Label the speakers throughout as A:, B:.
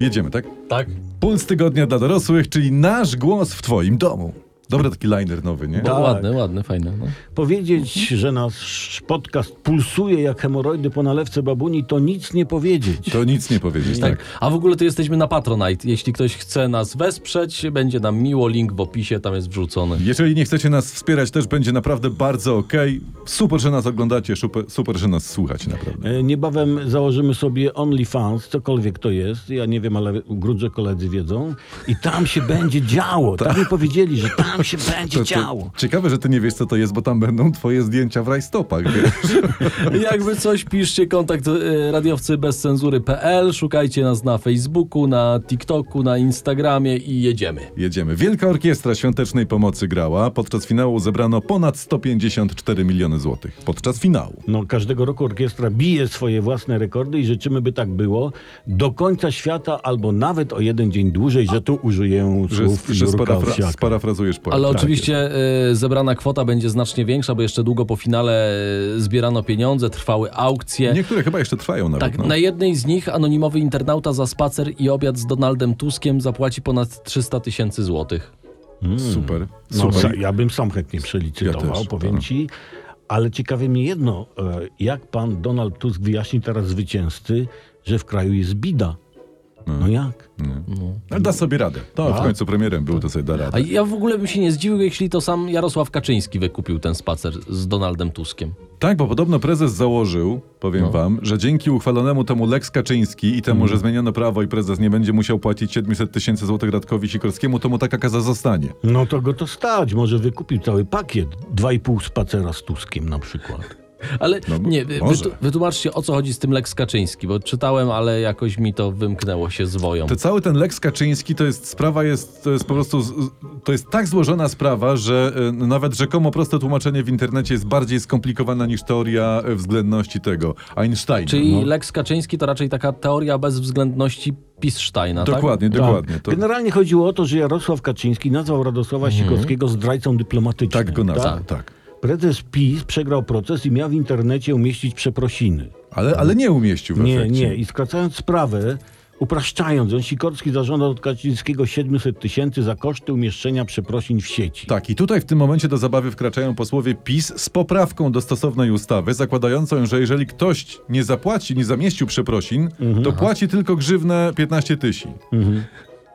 A: Jedziemy, tak?
B: Tak?
A: Puls tygodnia dla dorosłych, czyli nasz głos w twoim domu. Dobry taki liner nowy, nie?
B: Bo
C: Tak.
B: ładny, ładny, fajny. No.
C: Powiedzieć, że nasz podcast pulsuje jak hemoroidy po nalewce babuni, to nic nie powiedzieć.
A: To nic nie powiedzieć, tak?
B: Tak. A w ogóle to jesteśmy na Patronite. Jeśli ktoś chce nas wesprzeć, będzie nam miło. Link w opisie, tam jest wrzucony.
A: Jeżeli nie chcecie nas wspierać, też będzie naprawdę bardzo okej. Super, że nas oglądacie, super, super, że nas słuchacie naprawdę.
C: E, Niebawem założymy sobie OnlyFans, cokolwiek to jest. Ja nie wiem, ale grudze koledzy wiedzą. I tam się będzie działo. Tak mi powiedzieli, że tam się będzie
A: To- to
C: działo.
A: Ciekawe, że ty nie wiesz, co to jest, bo tam będą twoje zdjęcia w rajstopach, wiesz?
B: Jakby coś, piszcie kontakt e, radiowcy bez cenzury.pl. Szukajcie nas na Facebooku, na TikToku, na Instagramie i jedziemy.
A: Jedziemy. Wielka Orkiestra Świątecznej Pomocy grała. Podczas finału zebrano ponad 154 miliony złotych. Podczas finału.
C: No, każdego roku orkiestra bije swoje własne rekordy i życzymy, by tak było do końca świata albo nawet o jeden dzień dłużej, że tu użyję
A: Że,
C: słów
A: że
C: Jurka
A: sparafra-
C: Owsiaka.
A: sparafrazujesz poetę.
B: Ale
A: Tak
B: oczywiście e, zebrana kwota będzie znacznie większa, bo jeszcze długo po finale e, zbierano pieniądze, trwały aukcje.
A: jest. Niektóre chyba jeszcze trwają nawet.
B: Tak,
A: no.
B: na jednej z nich anonimowy internauta za spacer i obiad z Donaldem Tuskiem zapłaci ponad 300 tysięcy złotych.
A: Super.
C: No,
A: Super.
C: za- ja bym sam chętnie
A: Ja
C: przelicytował,
A: też,
C: powiem
A: tak.
C: ci. Ale ciekawie mnie jedno, e, jak pan Donald Tusk wyjaśni teraz zwycięzcy, że w kraju jest bida.
A: Mm.
C: No jak?
A: Hmm. Ale da sobie radę. To w końcu premierem był, to sobie da
B: A
A: radę.
B: ja w ogóle bym się nie zdziwił, jeśli to sam Jarosław Kaczyński wykupił ten spacer z Donaldem Tuskiem.
A: Tak, bo podobno prezes założył, powiem wam, że dzięki uchwalonemu temu Lex Kaczyński i temu, że zmieniono prawo i prezes nie będzie musiał płacić 700 tysięcy złotych Radkowi Sikorskiemu, to mu taka kaza zostanie.
C: No to go to stać, może wykupił cały pakiet. Dwa i pół spacera z Tuskiem na przykład.
B: Ale
A: No, m-
B: nie, wy-
A: może.
B: wytu- wytłumaczcie o co chodzi z tym Lex Kaczyński, bo czytałem, ale jakoś mi to wymknęło się z woją.
A: To cały ten Lex Kaczyński to jest sprawa, jest, to jest po prostu, z- z- to jest tak złożona sprawa, że e, nawet rzekomo proste tłumaczenie w internecie jest bardziej skomplikowana niż teoria e, względności tego Einsteina.
B: Czyli
A: no.
B: Lex Kaczyński to raczej taka teoria bezwzględności Pissteina, tak?
A: Dokładnie, dokładnie. To, Mhm.
C: Generalnie chodziło o to, że Jarosław Kaczyński nazwał Radosława Sikorskiego zdrajcą dyplomatycznym.
A: tak go nazwał, tak.
C: Prezes PiS przegrał proces i miał w internecie umieścić przeprosiny.
A: Ale, ale nie umieścił w
C: Nie,
A: efekcie.
C: nie. I skracając sprawę, upraszczając, on Sikorski zażądał od Kaczyńskiego 700 tysięcy za koszty umieszczenia przeprosin w sieci.
A: Tak, i tutaj w tym momencie do zabawy wkraczają posłowie PiS z poprawką do stosownej ustawy, zakładającą, że jeżeli ktoś nie zapłaci, nie zamieścił przeprosin,
C: Mhm.
A: to płaci tylko grzywnę 15 tysięcy.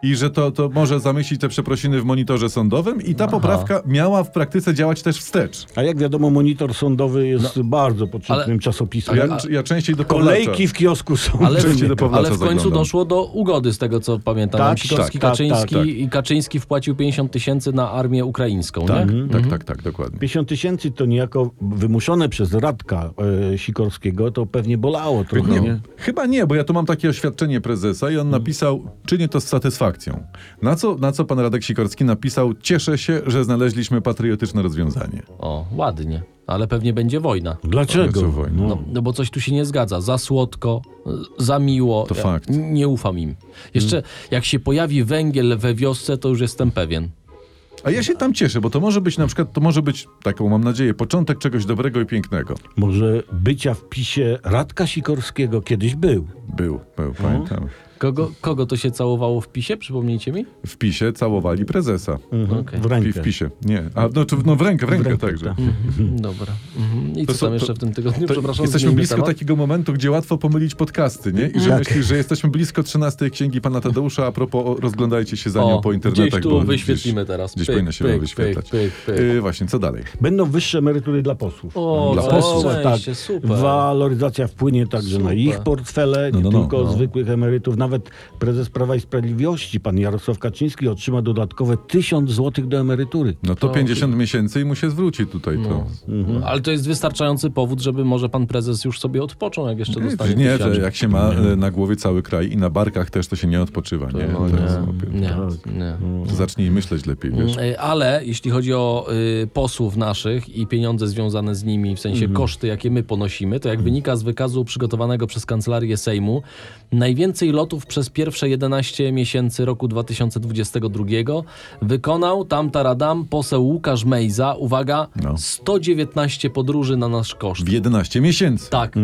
A: I że to, to może zamieścić te przeprosiny w monitorze sądowym, i ta poprawka miała w praktyce działać też wstecz.
C: A jak wiadomo, monitor sądowy jest
A: No,
C: bardzo potrzebnym
B: ale-
C: czasopismem.
A: Ja, ja częściej do
C: Kolejki
A: Pawlacza.
C: w kiosku są.
B: Ale,
A: Częściej do Pawlaca
B: ale w końcu
A: zaglądam.
B: doszło do ugody, z tego co pamiętam.
C: Tak,
B: Tam Sikorski,
A: tak,
B: Kaczyński
A: tak, tak.
B: i Kaczyński wpłacił 50 tysięcy na armię ukraińską,
A: Tak,
B: nie?
C: Mhm.
A: tak, tak, tak, dokładnie.
C: 50 tysięcy to niejako wymuszone przez Radka e, Sikorskiego, to pewnie bolało trochę, nie? Mhm.
A: Chyba nie, bo ja tu mam takie oświadczenie prezesa i on napisał, czynię to z satysfakcją. Na co, na co pan Radek Sikorski napisał, cieszę się, że znaleźliśmy patriotyczne rozwiązanie.
B: O, ładnie. Ale pewnie będzie wojna.
C: Dlaczego?
A: Jezu, wojna.
C: No.
B: No, no bo coś tu się nie zgadza. Za słodko, y, za miło.
A: To fakt. Mm.
B: n- Nie ufam im. Jeszcze jak się pojawi węgiel we wiosce, to już jestem pewien.
A: A ja się tam cieszę, bo to może być na przykład, to może być, taką mam nadzieję, początek czegoś dobrego i pięknego.
C: Może bycia w pisie Radka Sikorskiego kiedyś był.
A: Był,
C: Mhm.
A: był, pamiętam.
B: Kogo, kogo to się całowało w pisie? Przypomnijcie mi?
A: W PiSie całowali prezesa.
B: Okej.
C: W
A: Mhm. W,
C: rękę.
A: w PiSie, nie. A, no, czy, no w rękę, w rękę,
C: rękę,
A: także.
C: tak.
B: Dobra. Mhm. I
A: To
B: co
A: są-
B: tam jeszcze
A: to-
B: w tym tygodniu?
A: To
B: Przepraszam,
A: jesteśmy
B: zmieńmy
A: blisko
B: temat.
A: takiego momentu, gdzie łatwo pomylić podcasty, nie? I że
C: Tak.
A: myślisz, że jesteśmy blisko 13 księgi pana Tadeusza, a propos o, rozglądajcie się za
B: O,
A: nią po internetach.
B: gdzieś tu
A: bo
B: wyświetlimy
A: gdzieś,
B: teraz.
A: Gdzieś
B: Pyk,
A: powinno się
B: pyk,
A: wyświetlać.
B: pyk, pyk, pyk.
A: Yy, właśnie, co dalej?
C: Będą wyższe emerytury dla posłów. tak.
B: O,
A: Dla
B: całe
A: posłów.
B: szczęście, super.
C: Waloryzacja wpłynie także na
B: Super.
C: ich portfele,
A: No,
C: nie
A: no, no,
C: tylko
A: no.
C: zwykłych emerytów. Nawet prezes Prawa i Sprawiedliwości, pan Jarosław Kaczyński, otrzyma dodatkowe 1000 zł do emerytury.
A: No to 50 miesięcy i mu się zwróci tutaj to.
B: Mhm. Ale to jest wystarczający powód, żeby może pan prezes już sobie odpoczął, jak jeszcze dostanie
A: Y, Nie,
B: tysiąc.
A: że jak się ma e, na głowie cały kraj i na barkach też, to się nie odpoczywa, nie?
B: No
A: To jest, opie-
B: nie, nie, nie.
A: To Zacznij myśleć lepiej, wiesz.
B: Y, Ale jeśli chodzi o y, posłów naszych i pieniądze związane z nimi,
A: Mhm.
B: w sensie koszty, jakie my ponosimy, to jak wynika z wykazu przygotowanego przez Kancelarię Sejmu, najwięcej lotów koncertów przez pierwsze 11 miesięcy roku 2022 wykonał tamta radam poseł Łukasz Mejza, uwaga,
A: No.
B: 119 podróży na nasz koszt.
A: W 11 miesięcy.
B: Tak.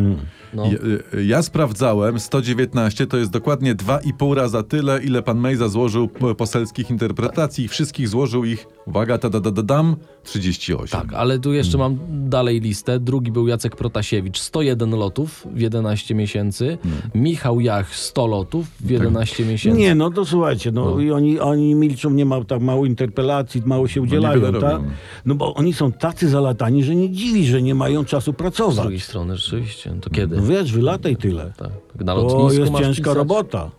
B: No.
A: Ja, y, ja sprawdzałem, 119 to jest dokładnie 2,5 raza tyle, ile pan Mejza złożył p- poselskich interpretacji. Wszystkich złożył ich, uwaga, ta da da da dam, 38.
B: Tak, ale tu jeszcze
C: Hmm.
B: mam dalej listę. Drugi był Jacek Protasiewicz, 101 lotów w 11 miesięcy. Michał Jach, 100 lotów w 11 miesięcy.
C: Hmm. Tak. Nie, no to słuchajcie, no, i oni, oni milczą, nie ma tak mało interpelacji, mało się udzielają,
A: niewiele
C: tak?
A: robią.
C: No bo oni są tacy zalatani, że nie dziwi, że nie mają czasu
B: Z drugiej
C: pracować. No
B: strony, rzeczywiście. No To kiedy?
C: Wiesz, wylataj tyle.
B: Tak. Na
C: Hmm. To
B: lotnisku
C: jest
B: masz
C: ciężka
B: pisać? Mm.
C: robota.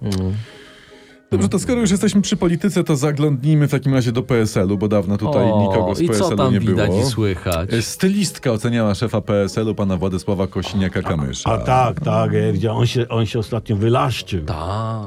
A: Dobrze, No, to skoro już jesteśmy przy polityce, to zaglądnijmy w takim razie do PSL-u, bo dawno tutaj nikogo z
B: i co
A: PSL-u
B: tam
A: nie
B: widać
A: było.
B: i słychać?
A: Y, Stylistka oceniała szefa PSL-u, pana Władysława Kosiniaka-Kamysza.
C: A tak, tak, ja widziałem, on się, on się ostatnio wylaszczył.
B: Ta.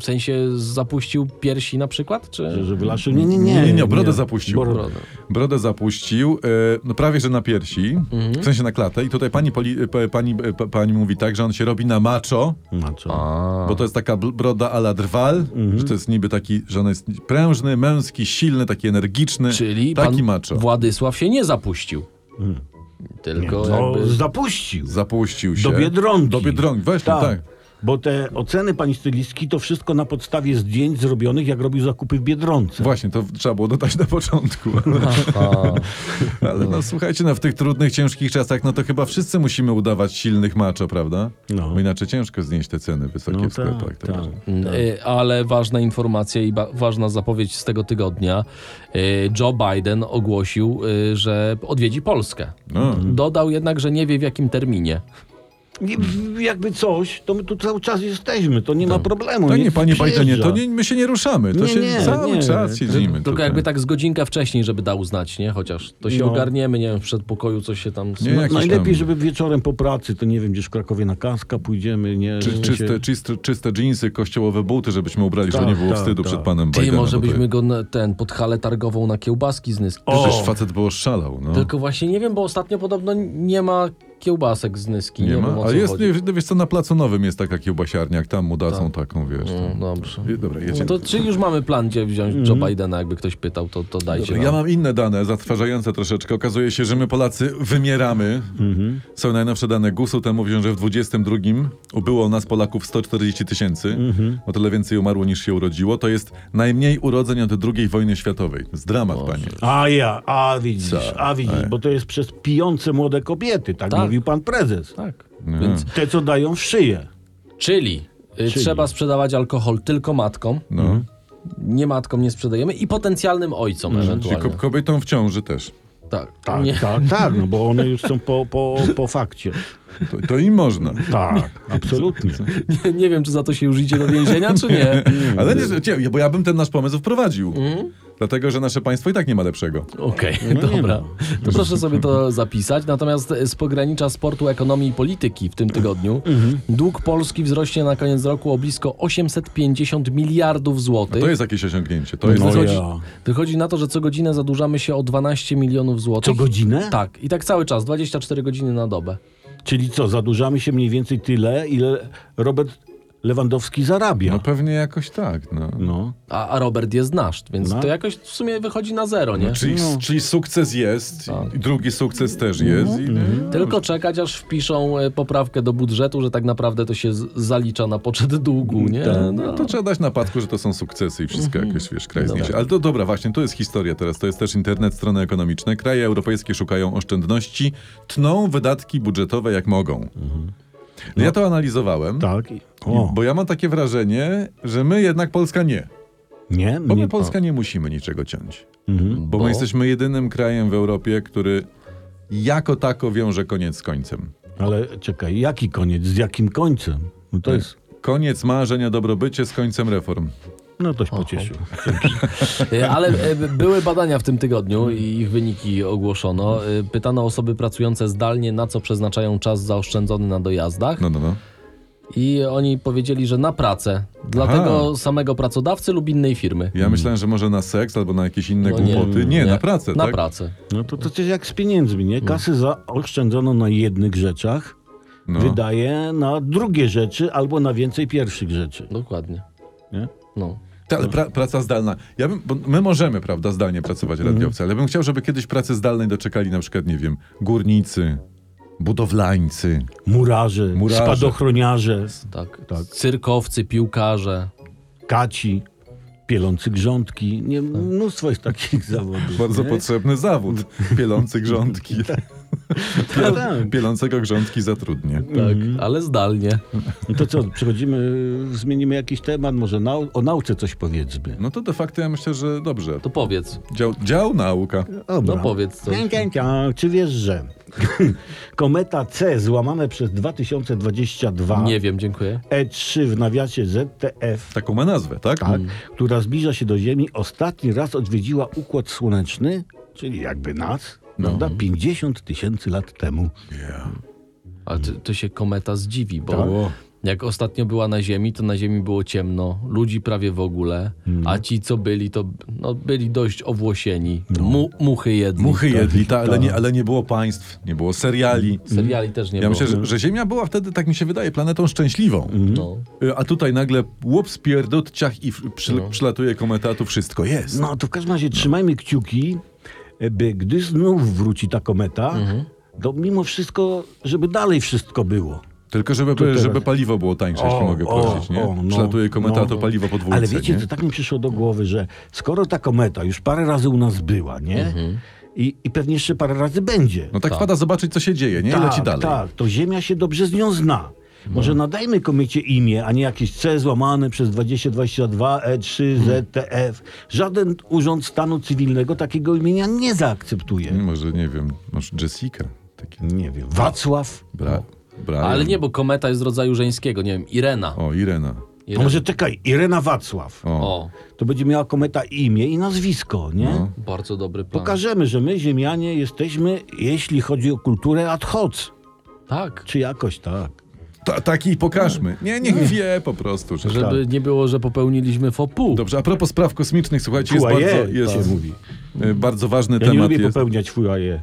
B: W sensie zapuścił piersi na przykład?
C: Że,
B: Czy...
C: że wylaszczył. Nie, nie, No, nie.
A: Nie, nie, nie, brodę zapuścił.
C: Brodę.
B: Brodę.
A: Brodę zapuścił, e, no prawie że na piersi, w sensie na klatę. I tutaj pani, poli, e, pa- pani, e, pa- pani mówi tak, że on się robi na macho,
C: No co?
B: A.
A: bo to jest taka bl- broda a la drwal, że to jest niby taki, że on jest prężny, męski, silny, taki energiczny.
B: Czyli
A: taki
B: pan
A: macho.
B: Władysław się nie zapuścił. Tylko
C: Hmm. No,
B: jakby...
C: zapuścił.
A: Zapuścił się.
C: Do Biedronki.
A: Do Biedronki, właśnie, tak.
C: Tak. Bo te oceny pani stylistki to wszystko na podstawie zdjęć zrobionych, jak robił zakupy w Biedronce.
A: Właśnie, to trzeba było dodać na początku.
B: A.
A: Ale no słuchajcie, no w tych trudnych, ciężkich czasach, no to chyba wszyscy musimy udawać silnych macho, prawda?
C: No.
A: Bo inaczej ciężko znieść te ceny wysokie
C: No
A: w sklepach.
C: tak,
A: także.
C: tak.
B: Y, Ale ważna informacja i ba- ważna zapowiedź z tego tygodnia. Y, Joe Biden ogłosił, y, że odwiedzi Polskę.
A: No.
B: Dodał jednak, że nie wie w jakim terminie.
C: Nie, w- Jakby coś, to my tu cały czas jesteśmy, to nie ma problemu.
A: Tak. To nie,
C: niech
A: panie
C: przyjeżdża.
A: Bajdenie, to nie, my się nie ruszamy. To
C: Nie,
A: się
C: nie,
A: cały
C: nie.
A: czas siedzimy.
B: Tylko
A: tutaj.
B: jakby tak z godzinka wcześniej, żeby dał znać, nie? Chociaż to się
C: No.
B: ogarniemy, nie wiem, w przedpokoju coś się tam...
A: Nie, jakieś
C: Najlepiej,
A: tam-
C: żeby wieczorem po pracy, to nie wiem, gdzieś w Krakowie na kaska pójdziemy, nie?
A: Czy,
C: żeby
A: czyste,
C: się-
A: czyste, czyste dżinsy, kościołowe buty, żebyśmy ubrali, żeby
C: Tak,
A: nie było
C: tak,
A: wstydu
C: tak.
A: przed panem
B: Ty,
A: Bidenem.
B: może
A: bo to-
B: byśmy go na, ten pod halę targową na kiełbaski znysk.
C: O!
A: Przecież facet było szalał, no.
B: Tylko właśnie nie wiem, bo ostatnio podobno nie ma kiełbasek z nyski.
A: nie,
B: Nie, wiem,
A: ma?
B: o co
A: Ale jest,
B: chodzi.
A: nie, wiesz co, na Placu Nowym jest taka kiełbasiarnia, jak tam mu dadzą
C: Tak.
A: taką, wiesz. tam.
B: Mm, Dobrze.
A: I- Dobra, jedziemy.
B: To czy już mamy plan, gdzie wziąć Joe Bidena, jakby ktoś pytał, to, to dajcie
A: Ja
B: nam.
A: mam inne dane, zatrważające troszeczkę. Okazuje się, że my Polacy wymieramy. Są najnowsze dane GUS-u, te mówią, że w 22 ubyło nas Polaków 140 tysięcy. O tyle więcej umarło niż się urodziło. To jest najmniej urodzeń od II wojny światowej. Z dramat, panie.
C: A ja, a widzisz,
A: Co? E.
C: a widzisz, bo to jest przez pijące młode kobiety, tak,
B: Tak.
C: mówił pan prezes.
B: Tak.
A: Nie.
B: Więc,
C: Te, co dają w szyję.
B: czyli, y,
C: Czyli.
B: trzeba sprzedawać alkohol tylko matkom,
A: No.
B: nie matkom nie sprzedajemy i potencjalnym ojcom
A: Czyli
B: ewentualnie.
A: ko- kobietom w ciąży też.
B: tak,
C: Mhm. Tak,
B: nie.
C: tak, tak, no bo one już są po, po, po fakcie.
A: To, to im można.
C: Tak, absolutnie.
B: Nie, nie wiem, czy za to się już idzie do więzienia, czy nie.
A: Ale nie, nie, bo ja bym ten nasz pomysł wprowadził. Dlatego, że nasze państwo i tak nie ma lepszego.
B: Okej,
C: No nie
B: dobra.
C: no.
B: To proszę sobie to zapisać. Natomiast y, z pogranicza sportu, ekonomii i polityki w tym tygodniu
C: Mhm.
B: dług Polski wzrośnie na koniec roku o blisko 850 miliardów złotych.
A: To jest jakieś osiągnięcie. To jest
C: No
A: coś-
B: Wychodzi,
C: ja.
B: wychodzi na to, że co godzinę zadłużamy się o 12 milionów
C: Co
B: złotych.
C: godzinę?
B: Tak, i tak cały czas, 24 godziny na dobę.
C: Czyli co, zadłużamy się mniej więcej tyle, ile Robert Lewandowski zarabia.
A: No pewnie jakoś tak, no.
C: No.
B: A, a Robert jest nasz, więc
C: No.
B: to jakoś w sumie wychodzi na zero, nie?
A: Czyli,
C: No.
A: czyli sukces jest, i drugi sukces też jest. I,
C: Mhm.
B: Tylko czekać, aż wpiszą e, poprawkę do budżetu, że tak naprawdę to się z- zalicza na poczet długu, nie? No.
A: To trzeba dać napadku, że to są sukcesy i wszystko
C: Mhm.
A: jakieś, wiesz, kraj zniesie. Ale to dobra, właśnie, to jest historia teraz, to jest też internet, strony ekonomiczne. Kraje europejskie szukają oszczędności, tną wydatki budżetowe jak mogą. No Ja to analizowałem,
C: Tak. i-
A: i-
C: O.
A: bo ja mam takie wrażenie, że my jednak Polska nie. Bo
C: Nie, nie- Mhm.
A: my Polska nie musimy niczego ciąć. Bo, my jesteśmy jedynym krajem w Europie, który jako tako wiąże koniec z końcem.
C: Ale czekaj, jaki koniec? Z jakim końcem? No to jest.
A: Koniec marzeń o dobrobycie z końcem reform.
C: No toś pocieszył.
B: E, Ale e, b- były badania w tym tygodniu i ich wyniki ogłoszono. E, Pytano osoby pracujące zdalnie, na co przeznaczają czas zaoszczędzony na dojazdach.
A: No, no, no.
B: I oni powiedzieli, że na pracę. Dla
A: Aha.
B: tego samego pracodawcy lub innej firmy.
A: Ja myślałem, że może na seks albo na jakieś inne
B: No nie,
A: głupoty. Nie, na pracę,
B: Na
A: tak?
B: pracę.
C: No to, to też jak z pieniędzmi, nie? Kasy zaoszczędzono na jednych rzeczach,
A: No.
C: wydaje na drugie rzeczy albo na więcej pierwszych rzeczy.
B: Dokładnie.
C: Nie?
B: No.
A: Ta, ale pra, praca zdalna. Ja bym, bo my możemy, prawda, zdalnie pracować radiowcy, ale bym chciał, żeby kiedyś pracy zdalnej doczekali na przykład, nie wiem, górnicy, budowlańcy.
C: Murarze,
A: Murarze.
C: spadochroniarze,
B: Tak.
C: Tak.
B: Cyrkowcy, piłkarze.
C: kaci, pielący grządki. Nie, mnóstwo jest takich zawodów.
A: Tak. Bardzo
C: nie?
A: potrzebny zawód. Pielący grządki.
C: Tak, tak.
A: Pielącego grządki zatrudnię.
B: Tak,
A: Mhm.
B: ale zdalnie.
C: No To co, przechodzimy, zmienimy jakiś temat, może nau- o nauce coś powiedzmy.
A: No to de facto ja myślę, że dobrze.
B: To powiedz.
A: Dział, dział nauka.
C: Dobra.
B: No powiedz coś.
C: Cię, cię, cię. Czy wiesz, że kometa C złamane przez 2022
B: Nie wiem, dziękuję.
C: E3 E w nawiasie ZTF,
A: Taką ma nazwę, tak?
C: tak,
B: Mm.
C: która zbliża się do Ziemi, ostatni raz odwiedziła Układ Słoneczny, czyli jakby nas,
B: No.
C: prawda, 50 tysięcy lat temu.
B: Ale to, to się kometa zdziwi, bo
A: O,
B: jak ostatnio była na Ziemi, to na Ziemi było ciemno, ludzi prawie w ogóle, a ci co byli, to no, byli dość owłosieni. Mu, muchy jedni.
A: Muchy jedli, ta, ale, nie, ale nie było państw, nie było seriali.
B: Tak. Seriali też nie
A: Ja
B: było.
A: myślę, że, że Ziemia była wtedy, tak mi się wydaje, planetą szczęśliwą.
C: Mhm.
B: No.
A: Y, A tutaj nagle łop spierdut, ciach i w- przy, przylatuje kometa, a tu wszystko jest.
C: No to w każdym razie trzymajmy kciuki, by gdy znów wróci ta kometa, to mimo wszystko, żeby dalej wszystko było.
A: Tylko żeby,
C: teraz-
A: żeby paliwo było tańsze, jeśli
C: O,
A: mogę
C: o,
A: prosić, nie?
C: o, no,
A: przylatuje kometa,
C: no.
A: to paliwo podwójne.
C: Ale wiecie,
A: nie?
C: to tak mi przyszło do głowy, że skoro ta kometa już parę razy u nas była, nie?
A: Mhm.
C: I, I pewnie jeszcze parę razy będzie.
A: No tak wpada zobaczyć, co się dzieje, nie? I leci dalej. No.
C: tak, to Ziemia się dobrze z nią zna. Może nadajmy komecie imię, a nie jakieś C złamane przez 2022, E3,
A: Hmm.
C: ZTF. Żaden urząd stanu cywilnego takiego imienia nie zaakceptuje.
A: Może, nie wiem, może Jessica. Taki
C: Nie wiem. Wacław.
A: bra,
C: No.
A: Brian.
B: Ale nie, bo kometa jest z rodzaju żeńskiego, nie wiem, Irena.
A: O, Irena.
C: To
B: Irena.
C: może czekaj, Irena Wacław.
A: O.
B: O,
C: To będzie miała kometa imię i nazwisko, nie?
A: No.
B: bardzo dobry plan.
C: Pokażemy, że my, Ziemianie, jesteśmy, jeśli chodzi o kulturę, ad hoc.
B: Tak.
C: Czy jakoś tak.
A: Ta, taki pokażmy. Nie,
C: No.
A: niech wie po prostu. Że... tak.
B: Żeby nie było, że popełniliśmy fopu.
A: Dobrze, a propos spraw kosmicznych, słuchajcie, jest
C: Fuaje,
A: bardzo, jest,
C: tak się mówi.
A: y, bardzo ważny
C: Ja nie
A: temat.
C: lubię
A: jest.
C: popełniać fuaje.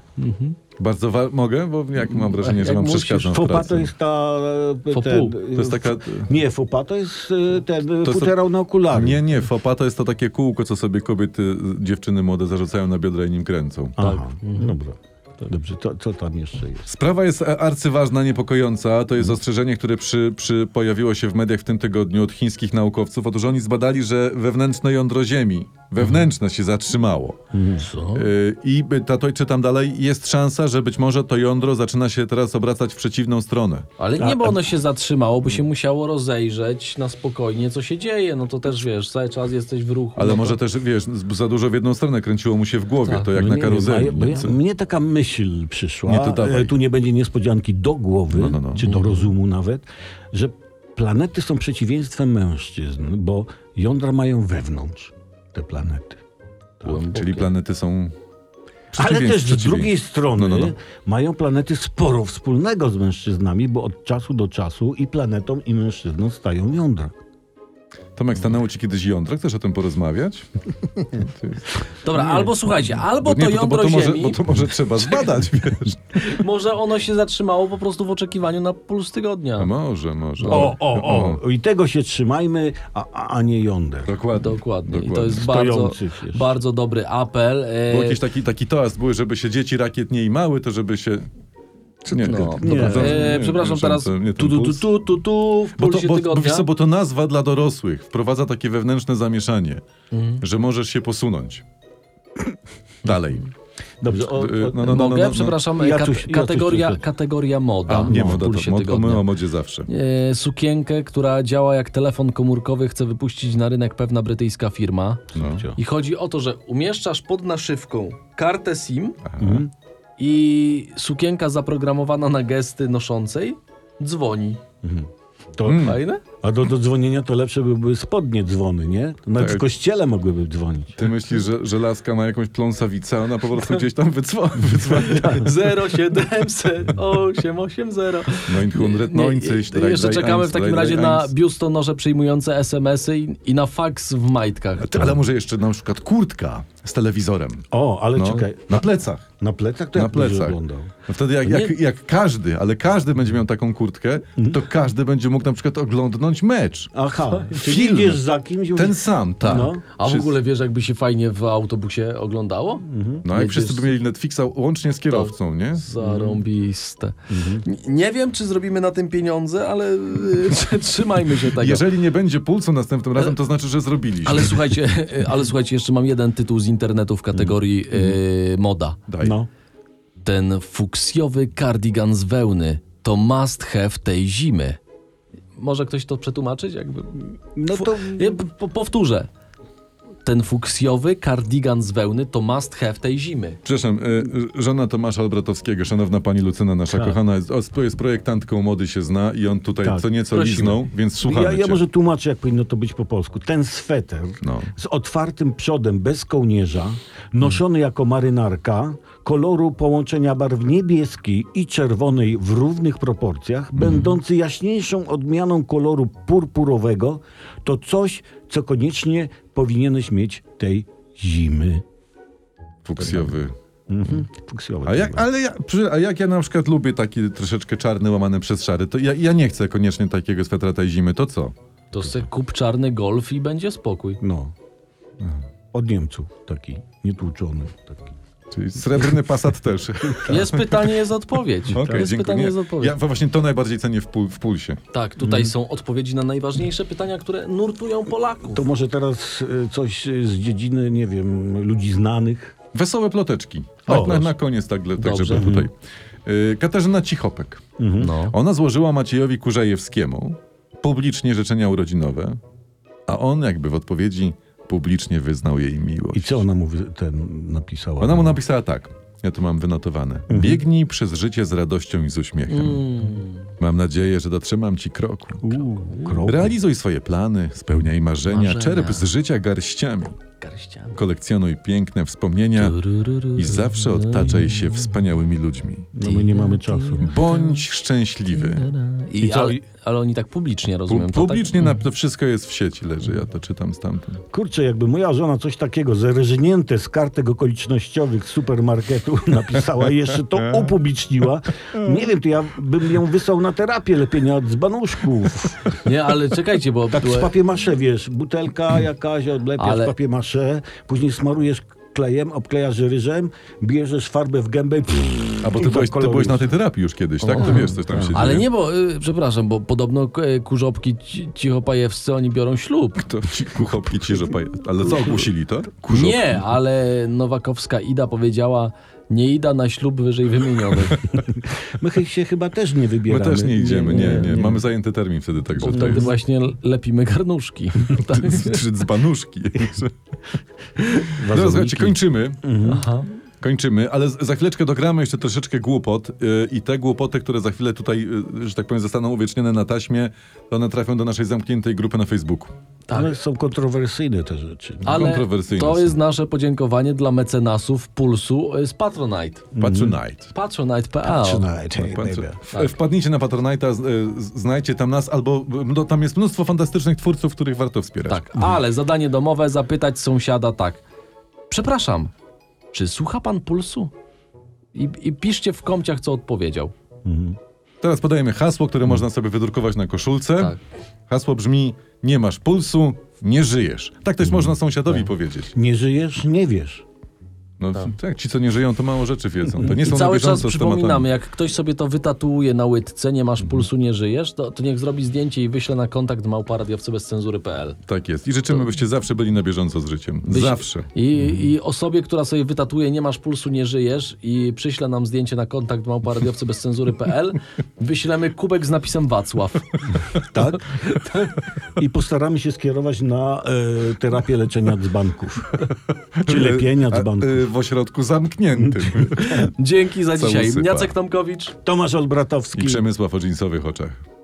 A: Bardzo wa- mogę? Bo jak mam wrażenie,
B: Jak
A: że mam
B: musisz.
A: przeszkadzam w
C: Fopa to
A: pracy.
C: jest ta... e,
B: Fopu.
C: ten, e,
B: To
A: jest taka-
C: Nie, fopa to jest e, ten to
A: to-
C: futerał na okulary.
A: Nie, nie, fopa to jest to takie kółko, co sobie kobiety, y, dziewczyny młode zarzucają na biodra i nim kręcą.
C: Aha, Tak.
A: mhm.
C: dobra. Dobrze, to, co tam jeszcze jest?
A: Sprawa jest e, arcyważna, niepokojąca. To jest ostrzeżenie, które przy, przy pojawiło się w mediach w tym tygodniu od chińskich naukowców. Otóż oni zbadali, że wewnętrzne jądro Ziemi, wewnętrzne się zatrzymało.
B: Co?
A: Y, I by- ta, to czytam dalej, jest szansa, że być może to jądro zaczyna się teraz obracać w przeciwną stronę.
B: Ale
A: Tak.
B: nie, bo ono się zatrzymało, bo się musiało rozejrzeć na spokojnie, co się dzieje. No to też wiesz, cały czas jesteś w ruchu.
A: Ale
B: no
A: może
B: to...
A: też, wiesz, z- za dużo w jedną stronę kręciło mu się w głowie,
B: Tak,
A: to jak
C: No
A: na
C: nie wiem, a
A: karuzeli.
C: ja- bo ja,
A: Co-
C: mnie taka myśl przyszła,
A: Nie, to dawaj.
C: e, tu nie będzie niespodzianki do głowy,
A: No, no, no.
C: czy do rozumu nawet, że planety są przeciwieństwem mężczyzn, bo jądra mają wewnątrz te planety.
A: Czyli planety są...
C: Ale
A: przeciwieństw-
C: też z
A: przeciwieństw.
C: drugiej strony
A: No, no, no.
C: mają planety sporo wspólnego z mężczyznami, bo od czasu do czasu i planetom i mężczyznom stają jądra.
A: Tomek, stanęło ci kiedyś jądro? Chcesz o tym porozmawiać?
B: Dobra, albo słuchajcie, albo
A: nie,
B: to
A: bo,
B: jądro
A: bo, to może,
B: Ziemi,
A: bo to może trzeba zbadać, wiesz.
B: może ono się zatrzymało po prostu w oczekiwaniu na puls
A: A
B: tygodnia.
A: może, może.
C: O, o, o! I tego się trzymajmy, a, a a nie jąder.
A: Dokładnie.
B: Dokładnie. I
A: Dokładnie.
B: to jest bardzo,
C: Stojący przecież.
B: bardzo dobry apel. E,
A: Był jakiś taki, taki toast, były, żeby się dzieci rakiet nie imały, to żeby się... Nie,
B: no,
A: to-
B: dobra.
A: to-
B: E,
A: nie,
B: przepraszam
A: nie,
B: teraz.
A: to- nie,
B: Tu,
A: ten
B: tu, tu,
A: puls.
B: tu, tu, tu, w
A: Bo to,
B: pulsie
A: bo, bo,
B: tygodnia.
A: wiesz co, bo to nazwa dla dorosłych wprowadza takie wewnętrzne zamieszanie,
B: Mhm.
A: że możesz się posunąć. Dalej.
C: Dobrze, o, o,
A: Y, No, no, no,
B: Mogę?
A: no, no.
B: Przepraszam, e,
C: Ja
B: kat-
C: tu się- ja tu się
B: kategoria,
C: zgodzę.
B: kategoria moda No,
A: A, nie,
B: w
A: moda,
B: pulsie
A: to, mod,
B: tygodnia.
A: my o modzie zawsze.
B: E, sukienkę, która działa jak telefon komórkowy, chce wypuścić na rynek pewna brytyjska firma.
A: No.
B: I chodzi o to, że umieszczasz pod naszywką kartę SIM
A: Mhm.
B: i sukienka zaprogramowana na gesty noszącej dzwoni.
C: to,
A: Mm. Hmm.
B: Fajne?
C: A do, do dzwonienia to lepsze by były spodnie dzwony, nie? Nawet
A: Tak.
C: w kościele mogłyby dzwonić.
A: Ty myślisz, że, że laska ma jakąś pląsawicę, a ona po prostu gdzieś tam wycwa- wycwania.
B: 0700 880.
A: 900,
B: Nie,
A: 90, drei-
B: jeszcze
A: drei
B: czekamy
A: tak, eins,
B: w takim
A: drei-
B: razie
A: drei
B: na
A: eins.
B: biustonosze przyjmujące SMS-y i, i na faks w majtkach.
A: Ty, Ale może jeszcze na przykład kurtka z telewizorem.
C: O, ale
A: No,
C: czekaj.
A: na plecach.
C: Na plecach to
A: Na
C: jak będziesz
A: plecach.
C: oglądał?
A: No wtedy jak, jak, jak każdy, ale każdy będzie miał taką kurtkę,
B: Mhm.
A: to każdy będzie mógł na przykład oglądnąć mecz.
C: Aha, czyli
A: Film.
C: idziesz za kimś i
A: Ten
C: mówisz,
A: sam, tak.
C: No.
B: A w
A: Wszyscy-
B: ogóle wiesz, jakby się fajnie w autobusie oglądało?
A: No jak
B: Jedziesz-
A: wszyscy by mieli Netflixa łącznie z kierowcą, nie?
B: Zarąbiste.
A: Mhm.
B: N- Nie wiem, czy zrobimy na tym pieniądze, ale y, trzymajmy się tego.
A: Jeżeli nie będzie pulsu następnym razem, to znaczy, że zrobiliśmy.
B: Ale słuchajcie, e, ale słuchajcie, jeszcze mam jeden tytuł z internetu w kategorii y, moda.
A: Daj.
C: No.
B: Ten fuksjowy kardigan z wełny to must have tej zimy. Może ktoś to przetłumaczyć? Jakby...
C: No
B: Fu-
C: to
B: Ja p- po- powtórzę. Ten fuksjowy kardigan z wełny to must have tej zimy.
A: Przepraszam, y, y, żona Tomasza Obratowskiego, szanowna pani Lucyna, nasza
C: Tak.
A: kochana, jest, o- jest projektantką mody, się zna i on tutaj
C: Tak.
A: co nieco
B: Prosimy.
A: liznął, więc słuchamy
C: ja, ja
A: cię.
C: może tłumaczę, jak powinno to być po polsku. Ten sweter
A: No.
C: z otwartym przodem, bez kołnierza, noszony jako marynarka, koloru połączenia barw niebieskiej i czerwonej w równych proporcjach,
A: Mhm.
C: będący jaśniejszą odmianą koloru purpurowego, to coś, co koniecznie powinieneś mieć tej zimy.
A: Fuksjowy.
C: Mhm. Fuksjowe.
A: A jak,
C: chyba.
A: ale ja, przy- a jak ja na przykład lubię taki troszeczkę czarny, łamany przez szary, to ja, ja nie chcę koniecznie takiego swetra tej zimy, to co?
B: To se kup czarny golf i będzie spokój.
C: No. Od Niemców taki, nietłuczony. Taki.
A: Czyli srebrny pasat też. Okej,
B: Jest pytanie, jest odpowiedź. jest
A: Tak. dziękuję.
B: pytanie, jest
A: Nie,
B: odpowiedź.
A: Ja Mm. właśnie to najbardziej cenię w, pul, w pulsie.
B: Tak, tutaj są odpowiedzi na najważniejsze pytania, które nurtują Polaków.
C: To może teraz y, coś y, z dziedziny, nie wiem, ludzi znanych.
A: Wesołe ploteczki.
C: O, Mhm.
A: Tak, na,
C: proszę.
A: na koniec, tak, dla- tak
B: Dobrze.
A: żeby tutaj. Y, Katarzyna Cichopek.
B: No.
A: Ona złożyła Maciejowi Kurzejewskiemu publicznie życzenia urodzinowe, a on jakby w odpowiedzi publicznie wyznał jej miłość.
C: I co ona mu wy- ten napisała?
A: Ona mu napisała tak, ja tu mam wynotowane. Biegnij przez życie z radością i z uśmiechem. Mam nadzieję, że dotrzymam ci kroku.
C: U, krok.
A: Realizuj swoje plany, spełniaj marzenia,
B: Marzenia.
A: czerp z życia garściami.
B: Garściami.
A: Kolekcjonuj piękne wspomnienia i zawsze odtaczaj się wspaniałymi ludźmi.
C: No my nie mamy czasu.
A: Bądź szczęśliwy.
B: I,
C: I co,
B: ale,
C: i-
B: ale oni tak publicznie rozumiem.
A: Pu-
B: to
A: publicznie na, to wszystko jest w sieci leży, ja to czytam stamtąd.
C: Kurczę, jakby moja żona coś takiego zerżnięte z kartek okolicznościowych z supermarketu napisała i jeszcze to upubliczniła. Nie wiem, to ja bym ją wysłał na terapię lepienia z banuszków.
B: Tak, nie, ale czekajcie, bo
C: Tak z
B: były-
C: papier-masze, wiesz, butelka jakaś, odlepiasz
B: Ale-
C: Ale... papier-masze, później smarujesz klejem, obklejasz ryżem, bierzesz farbę w gębę.
A: A bo
C: i
A: ty
C: to
A: byłeś, ty
C: kolorujesz.
A: byłeś na tej terapii już kiedyś, tak? To wiesz, coś tam się
B: ale
A: dzieje.
B: nie, bo y, przepraszam, bo podobno y, kurzopki ci- cichopajewscy oni biorą ślub.
A: To ci kuchopki ci, że paje... Ale co, ogłosili to? Kurzopki.
B: Nie, ale Nowakowska Ida powiedziała, nie Ida na ślub wyżej wymienionych.
C: My chy- się chyba też nie
A: My
C: wybieramy.
A: też nie idziemy, nie, nie. Mamy zajęty termin wtedy, tak, także
B: Bo
A: to
B: wtedy
A: jest...
B: właśnie lepimy garnuszki. Tak?
A: Czy dzbanuszki. No,
C: Wazoniki.
A: słuchajcie, kończymy.
B: Aha.
A: Kończymy, ale z- za chwileczkę dogramy jeszcze troszeczkę głupot y, i te głupoty, które za chwilę tutaj, y, że tak powiem, zostaną uwiecznione na taśmie, to one trafią do naszej zamkniętej grupy na Facebooku.
B: Tak.
C: Ale są kontrowersyjne te rzeczy. No,
B: Ale
A: Kontrowersyjne
B: to
A: są.
B: jest nasze podziękowanie dla mecenasów Pulsu y, z Patronite.
A: Patronite. no,
B: Patronite.pl
C: Tonight, hey,
A: Patro-
C: baby.
A: w-
B: Tak.
A: Wpadnijcie na Patronite'a, z- y, z- znajdźcie tam nas, albo y, no, tam jest mnóstwo fantastycznych twórców, których warto wspierać.
B: Tak, ale zadanie domowe zapytać sąsiada tak. Przepraszam, czy słucha pan pulsu? I, I piszcie w komciach, co odpowiedział.
A: Teraz podajemy hasło, które można sobie wydrukować na koszulce.
B: Tak.
A: Hasło brzmi: Nie masz pulsu, nie żyjesz. Tak
B: Mhm.
A: też można sąsiadowi powiedzieć.
C: Nie żyjesz, nie wiesz.
A: No tak. ci, co nie żyją, to mało rzeczy wiedzą. To nie
B: I
A: są na
B: cały czas
A: bieżąco z Mhm. tematami.
B: przypominamy, jak ktoś sobie to wytatuuje na łydce, nie masz pulsu, nie żyjesz, to, to niech zrobi zdjęcie i wyśle na kontakt małparadiowcy bez cenzury.pl.
A: Tak jest. I życzymy, byście zawsze byli na bieżąco z życiem.
B: Byś-
A: Zawsze. Mhm.
B: I, I osobie, która sobie wytatuje nie masz pulsu, nie żyjesz i przyśle nam zdjęcie na kontakt małparadiowcy bez cenzury.pl, wyślemy kubek z napisem Wacław.
C: Tak? I postaramy się skierować na e, terapię leczenia dzbanków. Czy lepienia
A: A,
C: dzbanków.
A: y, W ośrodku zamkniętym.
B: Dzięki za
A: Całusypa.
B: dzisiaj. Jacek Tomkowicz.
C: Tomasz Olbratowski.
A: I Przemysław o dżinsowych oczach.